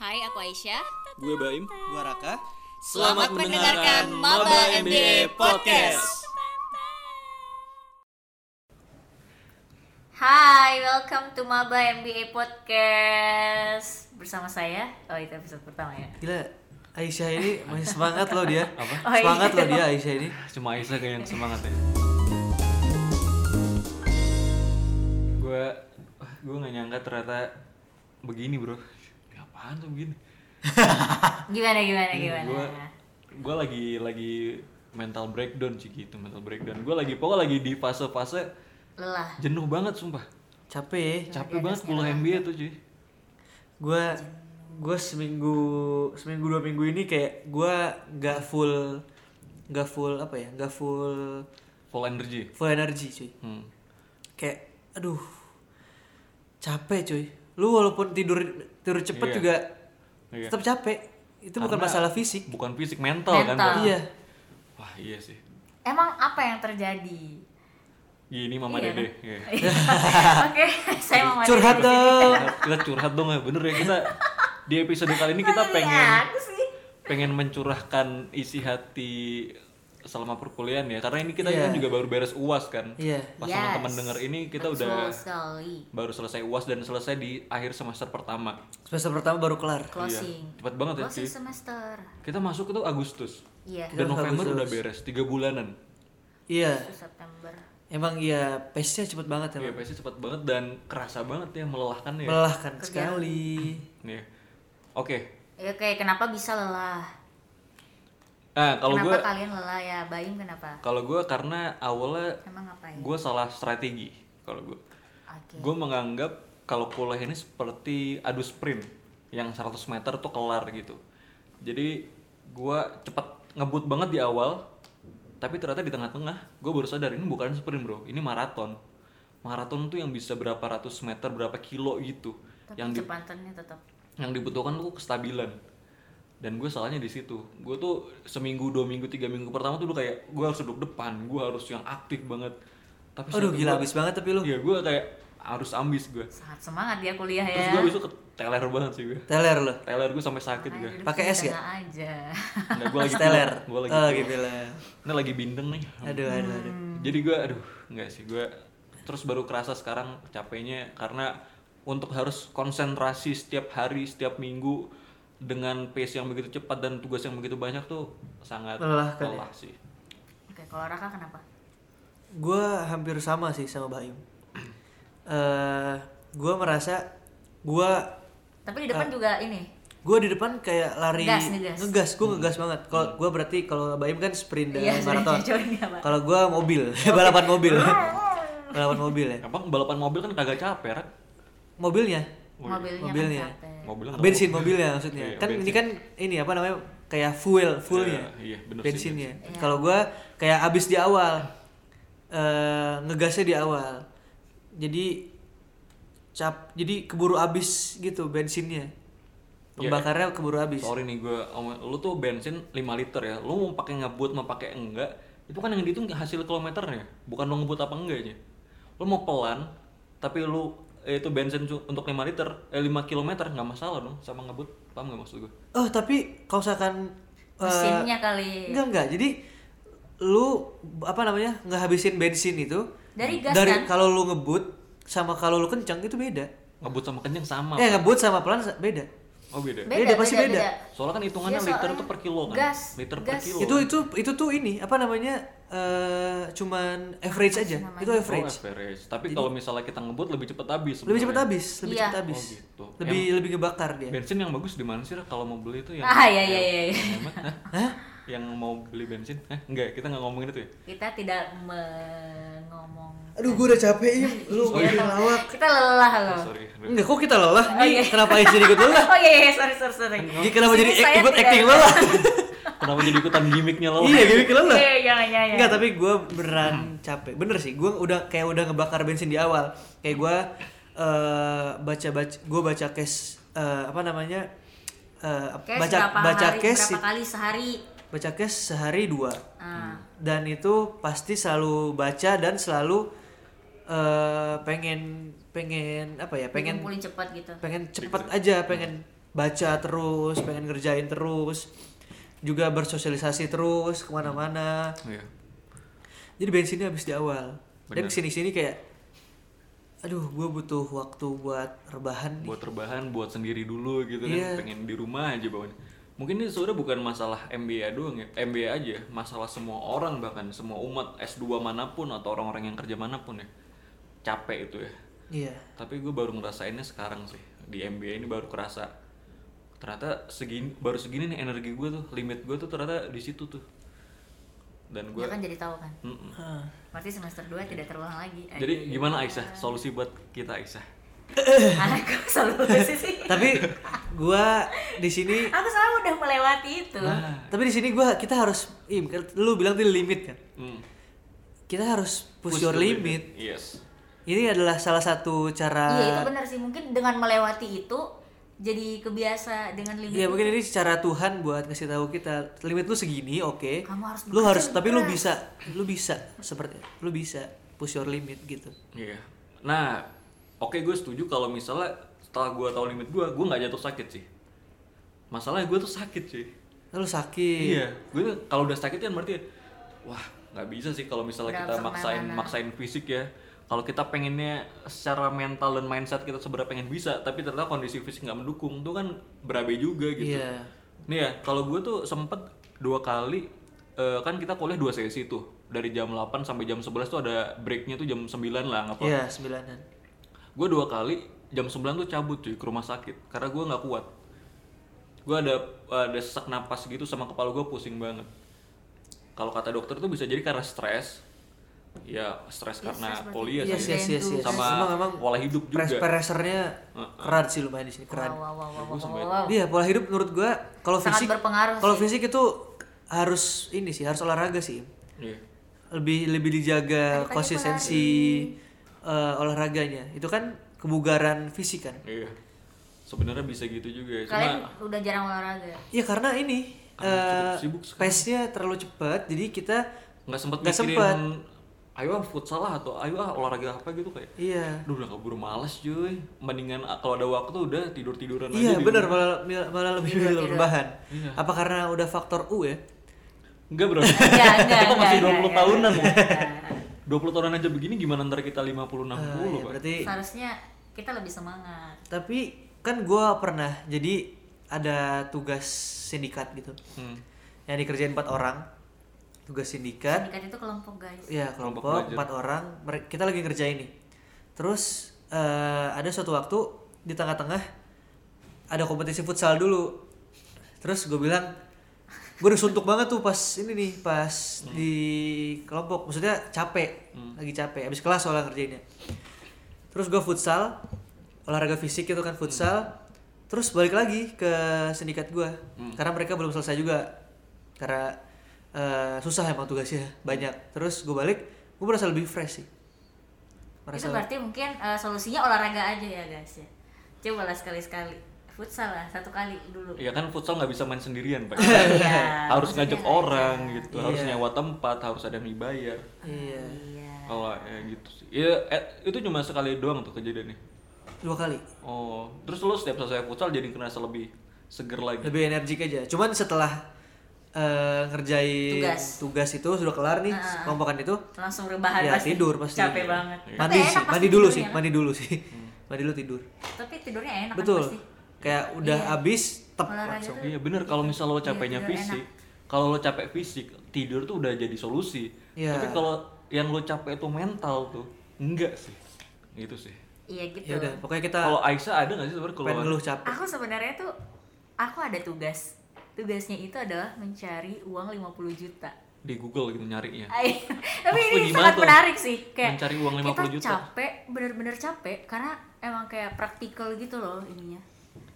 Hai, aku Aisyah. Gue Baim. Gua Raka. Selamat mendengarkan Maba MBA Podcast. Hai, welcome to Maba MBA Podcast bersama saya. Oh, itu episode pertama ya. Gila, Aisyah ini masih semangat loh dia. Apa? Oh, iya. semangat loh dia Aisyah ini. Cuma Aisyah kayak yang semangat ya. Gue gue gak nyangka ternyata begini bro. Ini apaan tuh begini? Gimana gimana gimana? Gue gue lagi lagi mental breakdown sih gitu mental breakdown. Gue lagi pokoknya lagi di fase-fase Lelah. jenuh banget sumpah. Capek. ya. Capek banget kuliah MBA tuh cuy. Gua gua seminggu seminggu dua minggu ini kayak gua nggak full nggak full apa ya nggak full Full energy. full energi cuy Hmm. kayak aduh capek cuy lu walaupun tidur tidur cepet Iya. juga Iya. tetap capek itu bukan Karena masalah fisik Bukan fisik mental, Mental. kan? Bang? iya Wah iya sih. Emang apa yang terjadi? Gini mama Iya. dede. Iya. Oke, saya mau curhat dong Nah, kita curhat dong ya bener ya kita di episode kali ini ya? kita pengen Aku sih. pengen mencurahkan isi hati selama perkuliahan ya karena ini kita Iya. kan juga baru beres uas kan Iya. pas sama Yes. teman denger ini kita Betul udah sekali. baru selesai uas dan selesai di akhir semester pertama semester pertama baru kelar Closing. cepat banget ya Closing cuy semester. kita masuk itu Agustus Iya. dan Kita masuk November Agustus. udah beres tiga bulanan iya Itu September. Emang iya, pace-nya cepet banget ya, ya Bang. pasti cepat banget dan kerasa banget ya melelahkan ya melelahkan sekali. Iya. oke Ya, Oke, kenapa bisa lelah? nah kalau gue kenapa kalian lelah ya? Baim kenapa? kalau gue karena awalnya Emang ngapain? gue salah strategi kalau gue Oke. gue menganggap kalau kuliah ini seperti adu sprint yang 100 meter tuh kelar gitu jadi gue cepet ngebut banget di awal tapi ternyata di tengah-tengah gue baru sadar ini bukan sprint bro ini maraton maraton tuh yang bisa berapa ratus meter berapa kilo gitu Tapi yang di- cepatannya tetap. yang dibutuhkan tuh kestabilan dan gue salahnya di situ gue tuh seminggu dua minggu tiga minggu pertama tuh udah kayak gue harus duduk depan gue harus yang aktif banget tapi Aduh saat gila gua- habis banget tapi lu. iya gue kayak harus ambis gue Sangat semangat dia kuliah terus ya. gue besok gitu kan. teler banget sih gue Teler lu. teler gue sampai sakit Makanya gue duduk Pakai sini es ya? tenang aja. nah, gue lagi Teler. gue lagi, Oh, pilek. pilek. ini lagi bindeng nih Aduh aduh aduh. Hmm. jadi gue aduh nggak sih gue terus baru kerasa sekarang capeknya karena untuk harus konsentrasi setiap hari setiap minggu dengan pace yang begitu cepat dan tugas yang begitu banyak tuh sangat Melelahkan ya? lelah sih Oke, kalau Raka kenapa? Gua hampir sama sih sama Baim. Eh, gua merasa gua Tapi di Ah. depan juga ini. gua di depan kayak lari Ngegas, ngegas. ngegas. Hmm. Gua ngegas banget. Kalau gua berarti kalau Baim kan sprint dan Iya, maraton. jauh ini apa? Kalau gua mobil, balapan mobil. balapan mobil ya. emang balapan mobil kan kagak capek Eh. kan Mobilnya Mobilnya, mobilnya. kan capek. mobil kan bensin mobilnya maksudnya Iya, kan ini bensin. kan ini apa namanya kayak fuel fuelnya Iya, iya, bener sih, bensinnya bensin. Iya. kalau gua kayak abis di awal eh, ngegasnya di awal jadi cap jadi keburu abis gitu bensinnya Iya, pembakarnya keburu abis sorry nih gue lu tuh bensin 5 liter ya lu mau pakai ngebut mau pakai enggak itu kan yang dihitung hasil kilometernya bukan lu ngebut apa enggaknya lu mau pelan tapi lu eh, itu bensin cu- untuk 5 liter eh 5 kilometer nggak masalah dong sama ngebut paham nggak maksud gue oh tapi kalau misalkan eh, Mesinnya kali. enggak enggak jadi lu apa namanya ngehabisin bensin itu Dari gas kan? kalau lu ngebut sama kalau lu kencang itu beda ngebut sama kenceng sama eh ngebut sama pelan sa- beda oh beda Beda, Iya, pasti beda. soalnya kan hitungannya Iya, liter soalnya tuh per kilo kan gas, liter per gas. kilo itu itu itu tuh ini apa namanya eh cuman average aja namanya? itu average Oh, average. tapi kalau misalnya kita ngebut lebih cepet habis lebih cepat sebenarnya. habis lebih Iya. cepat habis ya. Oh, gitu. lebih lebih ngebakar dia bensin yang bagus di mana sih Ra? kalau mau beli itu yang Ah, iya, iya, iya, iya. yang hemat, hah? Hah? yang mau beli bensin Hah? enggak kita nggak ngomongin itu ya Kita tidak mengomong. aduh gua udah capek im Iya, lu ngomongin lawak Kita lelah loh. sorry aduh. enggak kok kita lelah Oh, nih iya. kenapa aja jadi ikut lelah Oh iya, iya, sorry, sorry, sorry. Gini kenapa Sini jadi saya ikut tidak- acting lelah kenapa jadi ikutan gimmicknya lo iya gini lelah Iya, iya, iya, iya. Enggak, tapi gue beneran capek. Bener sih, gue udah kayak udah ngebakar bensin di awal. Kayak gue baca baca, gue baca case eh, apa namanya? eh, Case baca berapa baca hari, case berapa kali sehari? baca case sehari dua Ah, Hmm. dan itu pasti selalu baca dan selalu eh, pengen pengen apa ya pengen dikumpulin cepat gitu. pengen cepet aja pengen baca terus pengen ngerjain terus juga bersosialisasi terus kemana-mana Iya. jadi bensinnya habis di awal Bener. dan kesini-sini kayak aduh gue butuh waktu buat rebahan nih buat rebahan buat sendiri dulu gitu Iya. kan pengen di rumah aja bawahnya mungkin ini sebenarnya bukan masalah MBA doang ya MBA aja masalah semua orang bahkan semua umat S2 manapun atau orang-orang yang kerja manapun ya capek itu ya iya tapi gue baru ngerasainnya sekarang sih di MBA ini baru kerasa ternyata segini baru segini nih energi gue tuh limit gue tuh ternyata di situ tuh dan gue Ya kan jadi tahu kan. Mm-mm. Hah. Berarti semester 2 tidak terulang lagi. Eh, jadi gimana Aisyah solusi buat kita Aisyah Anakku selalu sih. tapi gue di sini Aku selalu udah melewati itu. nah tapi di sini gue kita harus im kan, lu bilang tadi limit kan mm. kita harus push, Push your the limit. yes ini adalah salah satu Iya itu cara benar sih. Mungkin dengan melewati itu jadi kebiasa dengan limit. Iya mungkin ini cara Tuhan buat ngasih tahu kita limit lu segini, oke. Kamu harus bekerja lu harus tapi lu keras. bisa, lu bisa seperti lu bisa push your limit gitu. Iya. Nah, oke gue setuju kalau misalnya setelah gue tahu limit gue, gue nggak jatuh sakit sih. Masalahnya gue tuh sakit sih. Lu sakit. Iya. Gue tuh kalau udah sakit kan berarti wah nggak bisa sih kalau misalnya Udah kita harus maksain kemana-mana. maksain fisik ya. Kalau kita pengennya secara mental dan mindset kita sebenarnya pengen bisa, tapi ternyata kondisi fisik nggak mendukung, tuh kan berabe juga gitu. Iya. Nih ya, kalau gue tuh sempet dua kali eh, kan kita kuliah dua sesi tuh dari jam 8 sampai jam 11 tuh ada breaknya tuh jam 9 lah nggak apa Iya, sembilanan. gue dua kali jam 9 tuh cabut cuy ke rumah sakit karena gue nggak kuat gue ada ada sesak napas gitu sama kepala gue pusing banget kalau kata dokter tuh bisa jadi karena stres ya stres karena stres berarti. kuliah Iya, sih yes, yes, yes, yes. sama Emang- emang pola hidup juga Pres pressernya keran sih lumayan di sini, Wow, keran. wow, wow, wow, Bagus, wow, Mbak. wow. Iya, pola hidup menurut gua kalau Sangat fisik berpengaruh Kalau sih. fisik itu harus ini sih, harus olahraga sih. Iya. lebih lebih dijaga konsistensi eh, olahraganya itu kan kebugaran fisik kan iya sebenarnya bisa gitu juga Kalian cuma udah jarang olahraga. ya karena ini Karena cukup eh, sibuk sekarang. pace-nya terlalu cepat jadi kita nggak sempet Nggak mikirin sempet. ayo ah futsal lah atau ayo ah olahraga apa gitu kayak iya Duh udah keburu males cuy Mendingan ah, kalau ada waktu udah tidur-tiduran aja iya di benar rumah. Iya. malah malah lebih Tidur, milih tidur. rebahan apa karena udah faktor U ya Enggak bro Iya, enggak, Kita masih enggak, 20 enggak, tahunan enggak, loh enggak, enggak. 20 tahunan aja begini gimana ntar kita 50 60 Ah, iya, Pak? berarti Seharusnya kita lebih semangat. tapi kan gua pernah jadi ada tugas sindikat gitu Hmm. yang dikerjain empat orang tugas sindikat Sindikat itu kelompok guys. ya Kelompok kelompok belajar. empat orang mere- kita lagi ngerjain nih terus eh, ada suatu waktu di tengah-tengah ada kompetisi futsal dulu terus gue bilang gue udah suntuk banget tuh pas ini nih pas di kelompok maksudnya capek lagi capek habis kelas soalnya ngerjainnya terus gue futsal olahraga fisik itu kan futsal terus balik lagi ke sindikat gue karena mereka belum selesai juga karena eh, susah emang tugasnya banyak terus gue balik gue merasa lebih fresh sih itu merasa berarti mungkin eh, solusinya olahraga aja ya guys ya. Coba lah sekali-sekali. Futsal lah satu kali dulu. Iya kan futsal nggak bisa main sendirian Pak Iya, Harus maksudnya ngajak nggak orang bisa. gitu Harus Iya. nyewa tempat Harus ada yang dibayar iya Iya. Kalau ya gitu sih Iya eh, itu cuma sekali doang tuh kejadiannya dua kali Oh Terus lo setiap selesai futsal jadi kerasa lebih seger lagi lebih energik aja cuman setelah eh, ngerjain Tugas. itu sudah kelar nih kelompokan itu Langsung rebahan ya pasti. tidur pasti Iya. Capek banget. Tapi Iya. mandi enak sih pasti mandi dulu sih tidurnya, kan? mandi dulu sih mandi dulu tidur Tapi tidurnya enak kan betul pasti. Iya. kayak udah habis tep Olahraga langsung tuh Iya bener kalau misal lo capeknya tidur Iya, enak. fisik Kalau lo capek fisik Tidur tuh udah jadi solusi Iya. Tapi kalau yang lo capek itu mental tuh Enggak sih Gitu sih Iya gitu. Ah. ya udah pokoknya kita Kalau Aisyah ada nggak sih sebenarnya pengen keluhan? ngeluh capek Aku sebenarnya tuh aku ada tugas. Tugasnya itu adalah mencari uang 50 juta. di Google gitu nyarinya. Ai- Tapi Maksudnya ini gimana sangat tuh? menarik sih kayak Mencari uang 50 kita juta. capek, bener-bener capek karena emang kayak praktikal gitu loh ininya.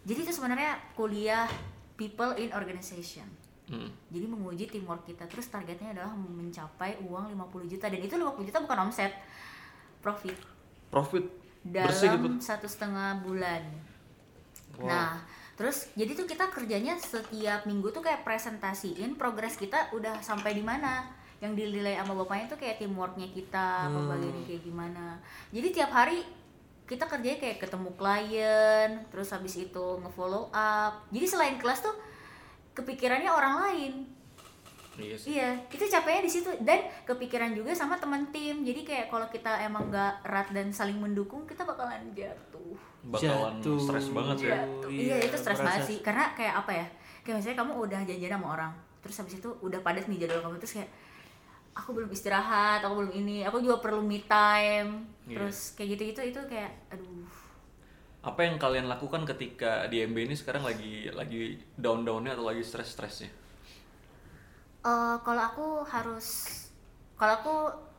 Jadi itu sebenarnya kuliah people in organization. Hmm. Jadi menguji teamwork kita terus targetnya adalah mencapai uang 50 juta dan itu 50 juta bukan omset profit Profit bersih gitu. dalam satu setengah bulan. Wow. Nah, terus jadi tuh kita kerjanya setiap minggu tuh kayak presentasiin progres kita udah sampai di mana. Yang Hmm. dinilai sama bapaknya tuh kayak teamworknya kita, pembagiannya kayak gimana. Jadi tiap hari kita kerjanya kayak ketemu klien terus habis itu ngefollow up jadi selain kelas tuh kepikirannya orang lain Iya sih. iya itu capeknya di situ dan kepikiran juga sama teman tim jadi kayak kalau kita emang gak erat dan saling mendukung kita bakalan jatuh Bakalan Jatuh. stres banget ya. Jatuh. iya, iya, itu stres banget merasa- sih karena kayak apa ya kayak misalnya kamu udah janjian sama orang terus habis itu udah padat nih jadwal kamu terus kayak aku belum istirahat aku belum ini aku juga perlu me time Iya. terus kayak gitu gitu itu kayak aduh Apa yang kalian lakukan ketika di MB ini sekarang lagi lagi down-downnya atau lagi stres-stresnya? Eh, kalau aku harus kalau aku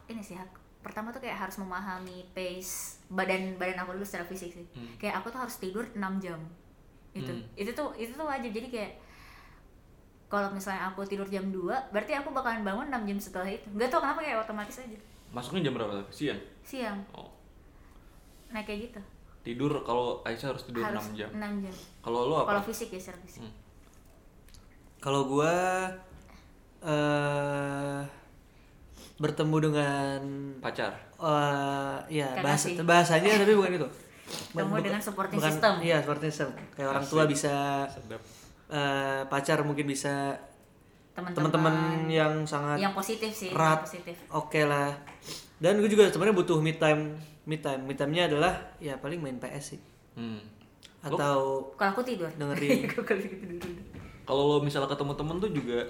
ini sih hak- pertama tuh kayak harus memahami pace badan badan aku dulu secara fisik sih Hmm. kayak aku tuh harus tidur 6 jam itu Hmm. itu tuh itu tuh wajib jadi kayak kalau misalnya aku tidur jam 2 berarti aku bakalan bangun 6 jam setelah itu nggak tau kenapa kayak otomatis aja Masuknya jam berapa? tapi? Siang. siang Oh. nah kayak gitu Tidur kalau Aisyah harus tidur harus 6 jam. Oh, 6 jam Kalau lu kalau apa? fisik ya secara fisik Hmm. Kalau gua eh bertemu dengan Pacar. eh ya Kakak bahasa, sih. bahasanya tapi bukan itu. Bertemu dengan supporting bukan- system. Iya, supporting system. Kayak orang tua Asik. bisa Sedap. eh, pacar mungkin bisa teman-teman teman-teman yang sangat yang positif sih yang erat. positif Oke lah. Dan gue juga sebenarnya butuh me time. Me time, me time-nya adalah ya paling main PS sih Hmm. Lu- atau kalau aku tidur dengerin Aku kalau gitu tidur Kalau lo misalnya ketemu temen tuh juga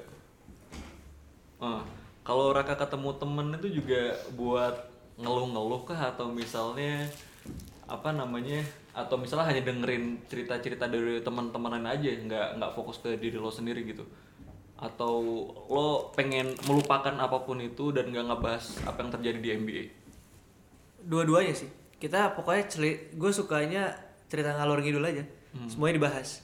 Eh, kalau Raka ketemu temen itu juga buat ngeluh-ngeluh kah atau misalnya apa namanya atau misalnya hanya dengerin cerita-cerita dari teman-temanan aja nggak nggak fokus ke diri lo sendiri gitu atau lo pengen melupakan apapun itu dan nggak ngebahas apa yang terjadi di NBA dua-duanya sih kita pokoknya gue sukanya cerita ngalor ngidul aja semuanya dibahas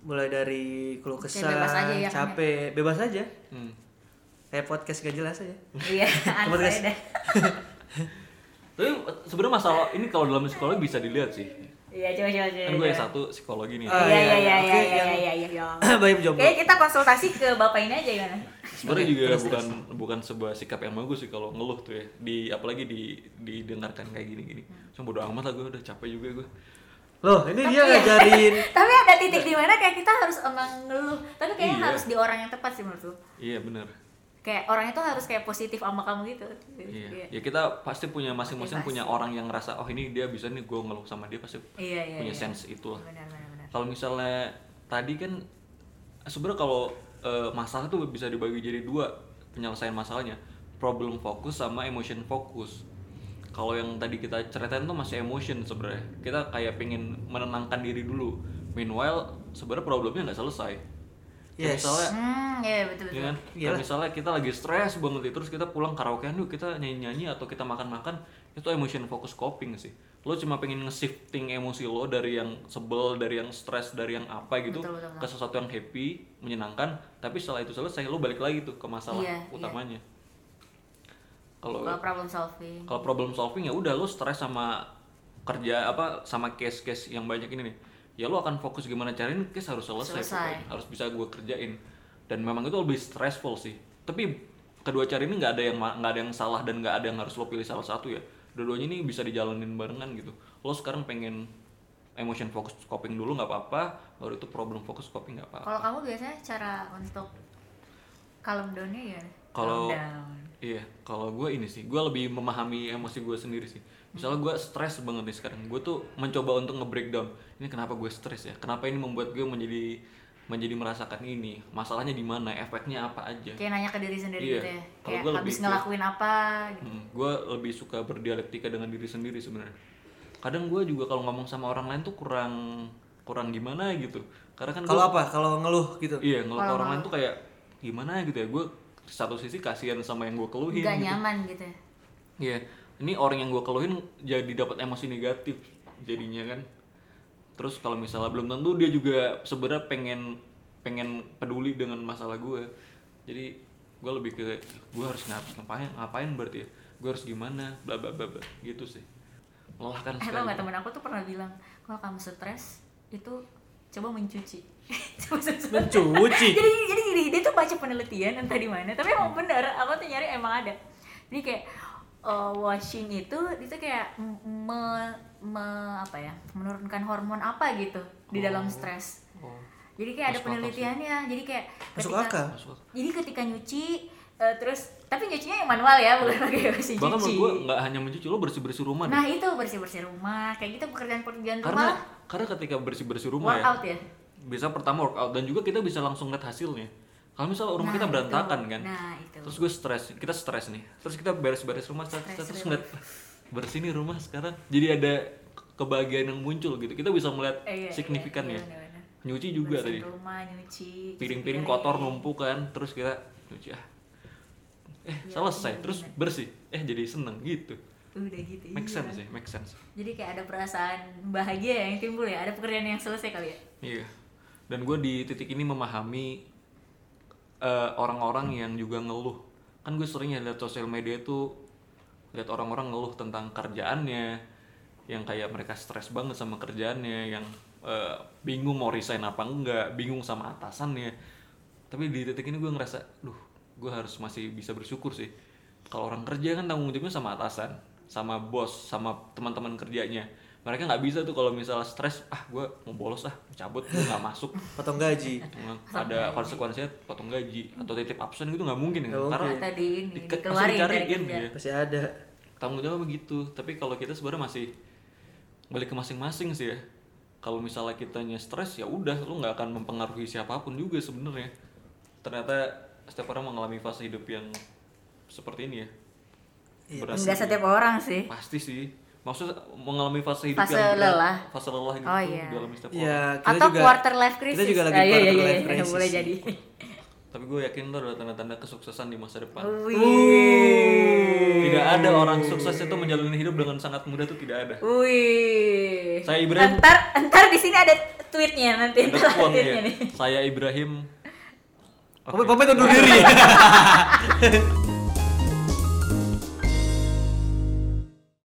mulai dari keluh kesah bebas aja ya, kan, capek bebas aja Hmm. kayak podcast gak jelas aja iya aneh Podcast. saya dah tapi eh, sebenarnya masalah ini kalau dalam psikologi bisa dilihat sih iya coba coba coba kan gue coba. satu psikologi nih Ah, iya iya iya Oke, iya iya yang- iya iya iya bayi jomblo Kayaknya kita konsultasi ke bapak ini aja gimana? sebenarnya Oke, juga terus, bukan bukan sebuah sikap yang bagus sih kalau ngeluh tuh ya di apalagi di didengarkan kayak gini gini cuma bodo amat lah gue udah capek juga gue loh ini dia ya. ngajarin Tapi ada titik di mana kayak kita harus emang ngeluh. Tapi kayaknya Iya. harus di orang yang tepat sih menurut lu. iya bener Kayak orangnya tuh harus kayak positif sama kamu gitu. iya ya kita pasti punya masing-masing Pasti. punya orang yang ngerasa oh ini dia bisa nih gue ngeluh sama dia pasti Iya, iya, punya iya. sense gitu. itulah Benar benar benar. kalau misalnya tadi kan sebenarnya kalau eh, masalah tuh bisa dibagi jadi dua penyelesaian masalahnya problem fokus sama emotion fokus kalau yang tadi kita ceritain tuh masih emotion sebenarnya kita kayak pengen menenangkan diri dulu meanwhile sebenarnya problemnya nggak selesai Kayak Yes. misalnya Hmm, iya betul betul. Ya kan? Kayak Iyalah. misalnya kita lagi stres banget nih, terus kita pulang karaokean yuk kita nyanyi-nyanyi atau kita makan-makan itu emotion focus coping sih lo cuma pengen nge-shifting emosi lo dari yang sebel, dari yang stres, dari yang apa gitu Betul, betul, betul. ke sesuatu yang happy, menyenangkan tapi setelah itu selesai lo balik lagi tuh ke masalah Iya, utamanya kalau Kalau problem solving. kalau problem solving ya udah lo stres sama kerja apa sama case-case yang banyak ini nih ya lo akan fokus gimana cariin case harus selesai, Selesai. pokoknya. harus bisa gue kerjain dan memang itu lebih stressful sih tapi kedua cara ini nggak ada yang ma- nggak ada yang salah dan nggak ada yang harus lo pilih salah satu ya dua-duanya ini bisa dijalanin barengan gitu lo sekarang pengen emotion focus coping dulu nggak apa-apa baru itu problem focus coping nggak apa-apa Kalau kamu biasanya cara untuk calm down-nya gimana? kalau Calm down. iya kalau gue ini sih gue lebih memahami emosi gue sendiri sih misalnya gue stres banget nih sekarang gue tuh mencoba untuk nge-breakdown ini kenapa gue stres ya kenapa ini membuat gue menjadi menjadi merasakan ini masalahnya di mana efeknya apa aja Kayak nanya ke diri sendiri Iya. gitu ya. Kalau Kayak gua lebih habis ke- ngelakuin apa gitu. gue Hmm, lebih suka berdialektika dengan diri sendiri sebenarnya kadang gue juga kalau ngomong sama orang lain tuh kurang kurang gimana gitu karena kan kalau gua- apa kalau ngeluh gitu iya ngeliat Kalau orang lain tuh kayak gimana gitu ya gue satu sisi kasihan sama yang gue keluhin Gak gitu. nyaman gitu ya. Iya, ini orang yang gue keluhin jadi dapat emosi negatif jadinya kan. Terus kalau misalnya belum tentu dia juga sebenarnya pengen pengen peduli dengan masalah gue. Jadi gue lebih ke gue harus ngap- ngapain ngapain berarti ya gue harus gimana bla bla bla bla gitu sih melelahkan Eh tau sekali gak temen aku tuh pernah bilang kalau kamu stres itu coba mencuci. Coba stres. Mencuci? jadi jadi Hmm. gini, dia tuh baca penelitian entah di mana tapi emang bener aku tuh nyari emang ada. Jadi kayak eh, washing itu itu kayak m- me, me- apa ya menurunkan hormon apa gitu di dalam stres Oh, jadi kayak ada Masuk akal sih. penelitiannya jadi kayak Masuk ketika- akal. masuk akal. jadi ketika nyuci eh, terus tapi nyucinya yang manual ya bukan pakai mesin Bahkan cuci menurut gue nggak hanya mencuci lo bersih bersih rumah deh. nah itu bersih bersih rumah kayak gitu pekerjaan pekerjaan karena rumah karena ketika bersih bersih rumah ya, workout ya bisa pertama workout dan juga kita bisa langsung lihat hasilnya. Kalau misal rumah Nah, kita itu. berantakan kan, nah itu terus gue stres, kita stres nih, terus kita beres-beres rumah, stres, Stress relief. terus ngeliat bersih nih rumah sekarang, jadi ada ke- kebahagiaan yang muncul gitu, kita bisa melihat Eh, iya, iya, signifikannya. iya, bener-bener. Nyuci ya? juga Bersihin tadi, rumah nyuci piring-piring cuci kotor numpuk kan, terus kita nyuci ah, eh Iya, bener-bener. selesai, terus bersih, eh jadi seneng gitu, udah gitu make iya. sense ya? sih, make sense. jadi kayak ada perasaan bahagia yang timbul ya ada pekerjaan yang selesai kali ya Iya. Dan gue di titik ini memahami eh, orang-orang yang juga ngeluh. Kan gue sering ya lihat sosial media itu lihat orang-orang ngeluh tentang kerjaannya, yang kayak mereka stres banget sama kerjaannya, yang eh, bingung mau resign apa enggak, bingung sama atasannya. Tapi di titik ini gue ngerasa, duh, gue harus masih bisa bersyukur sih. Kalau orang kerja kan tanggung jawabnya sama atasan, sama bos, sama teman-teman kerjanya. Mereka nggak bisa tuh kalau misalnya stres, ah gue mau bolos ah, mau cabut, gue nggak masuk. potong gaji Emang ada konsekuensinya potong gaji atau titip absen gitu nggak mungkin kan? Nggak Karena mungkin. atau di ini di- langsung dikeluarin dari dicariin kerja ya. pasti ada Tanggung jawab begitu. Tapi kalau kita sebenarnya masih balik ke masing-masing sih ya. Kalau misalnya kitanya stres ya udah, lu nggak akan mempengaruhi siapapun juga sebenarnya. Ternyata setiap orang mengalami fase hidup yang seperti ini ya. Iya, Berat enggak sih. setiap orang sih Pasti sih. Maksudnya mengalami fase hidup Fase yang berat, lelah. fase lelah gitu Oh, iya. dialami setiap orang. ya kita atau juga quarter life crisis kita juga lagi Ah, iya, quarter iya, iya, life iya, crisis boleh sih. jadi Tapi gue yakin itu adalah tanda-tanda kesuksesan di masa depan. Oh, wih Tidak ada orang sukses itu menjalani hidup dengan sangat mudah itu tidak ada. wih Saya Ibrahim. entar entar di sini ada tweetnya nanti Ada entar quote tweetnya ya. nih Saya Ibrahim. Papa papa itu undur diri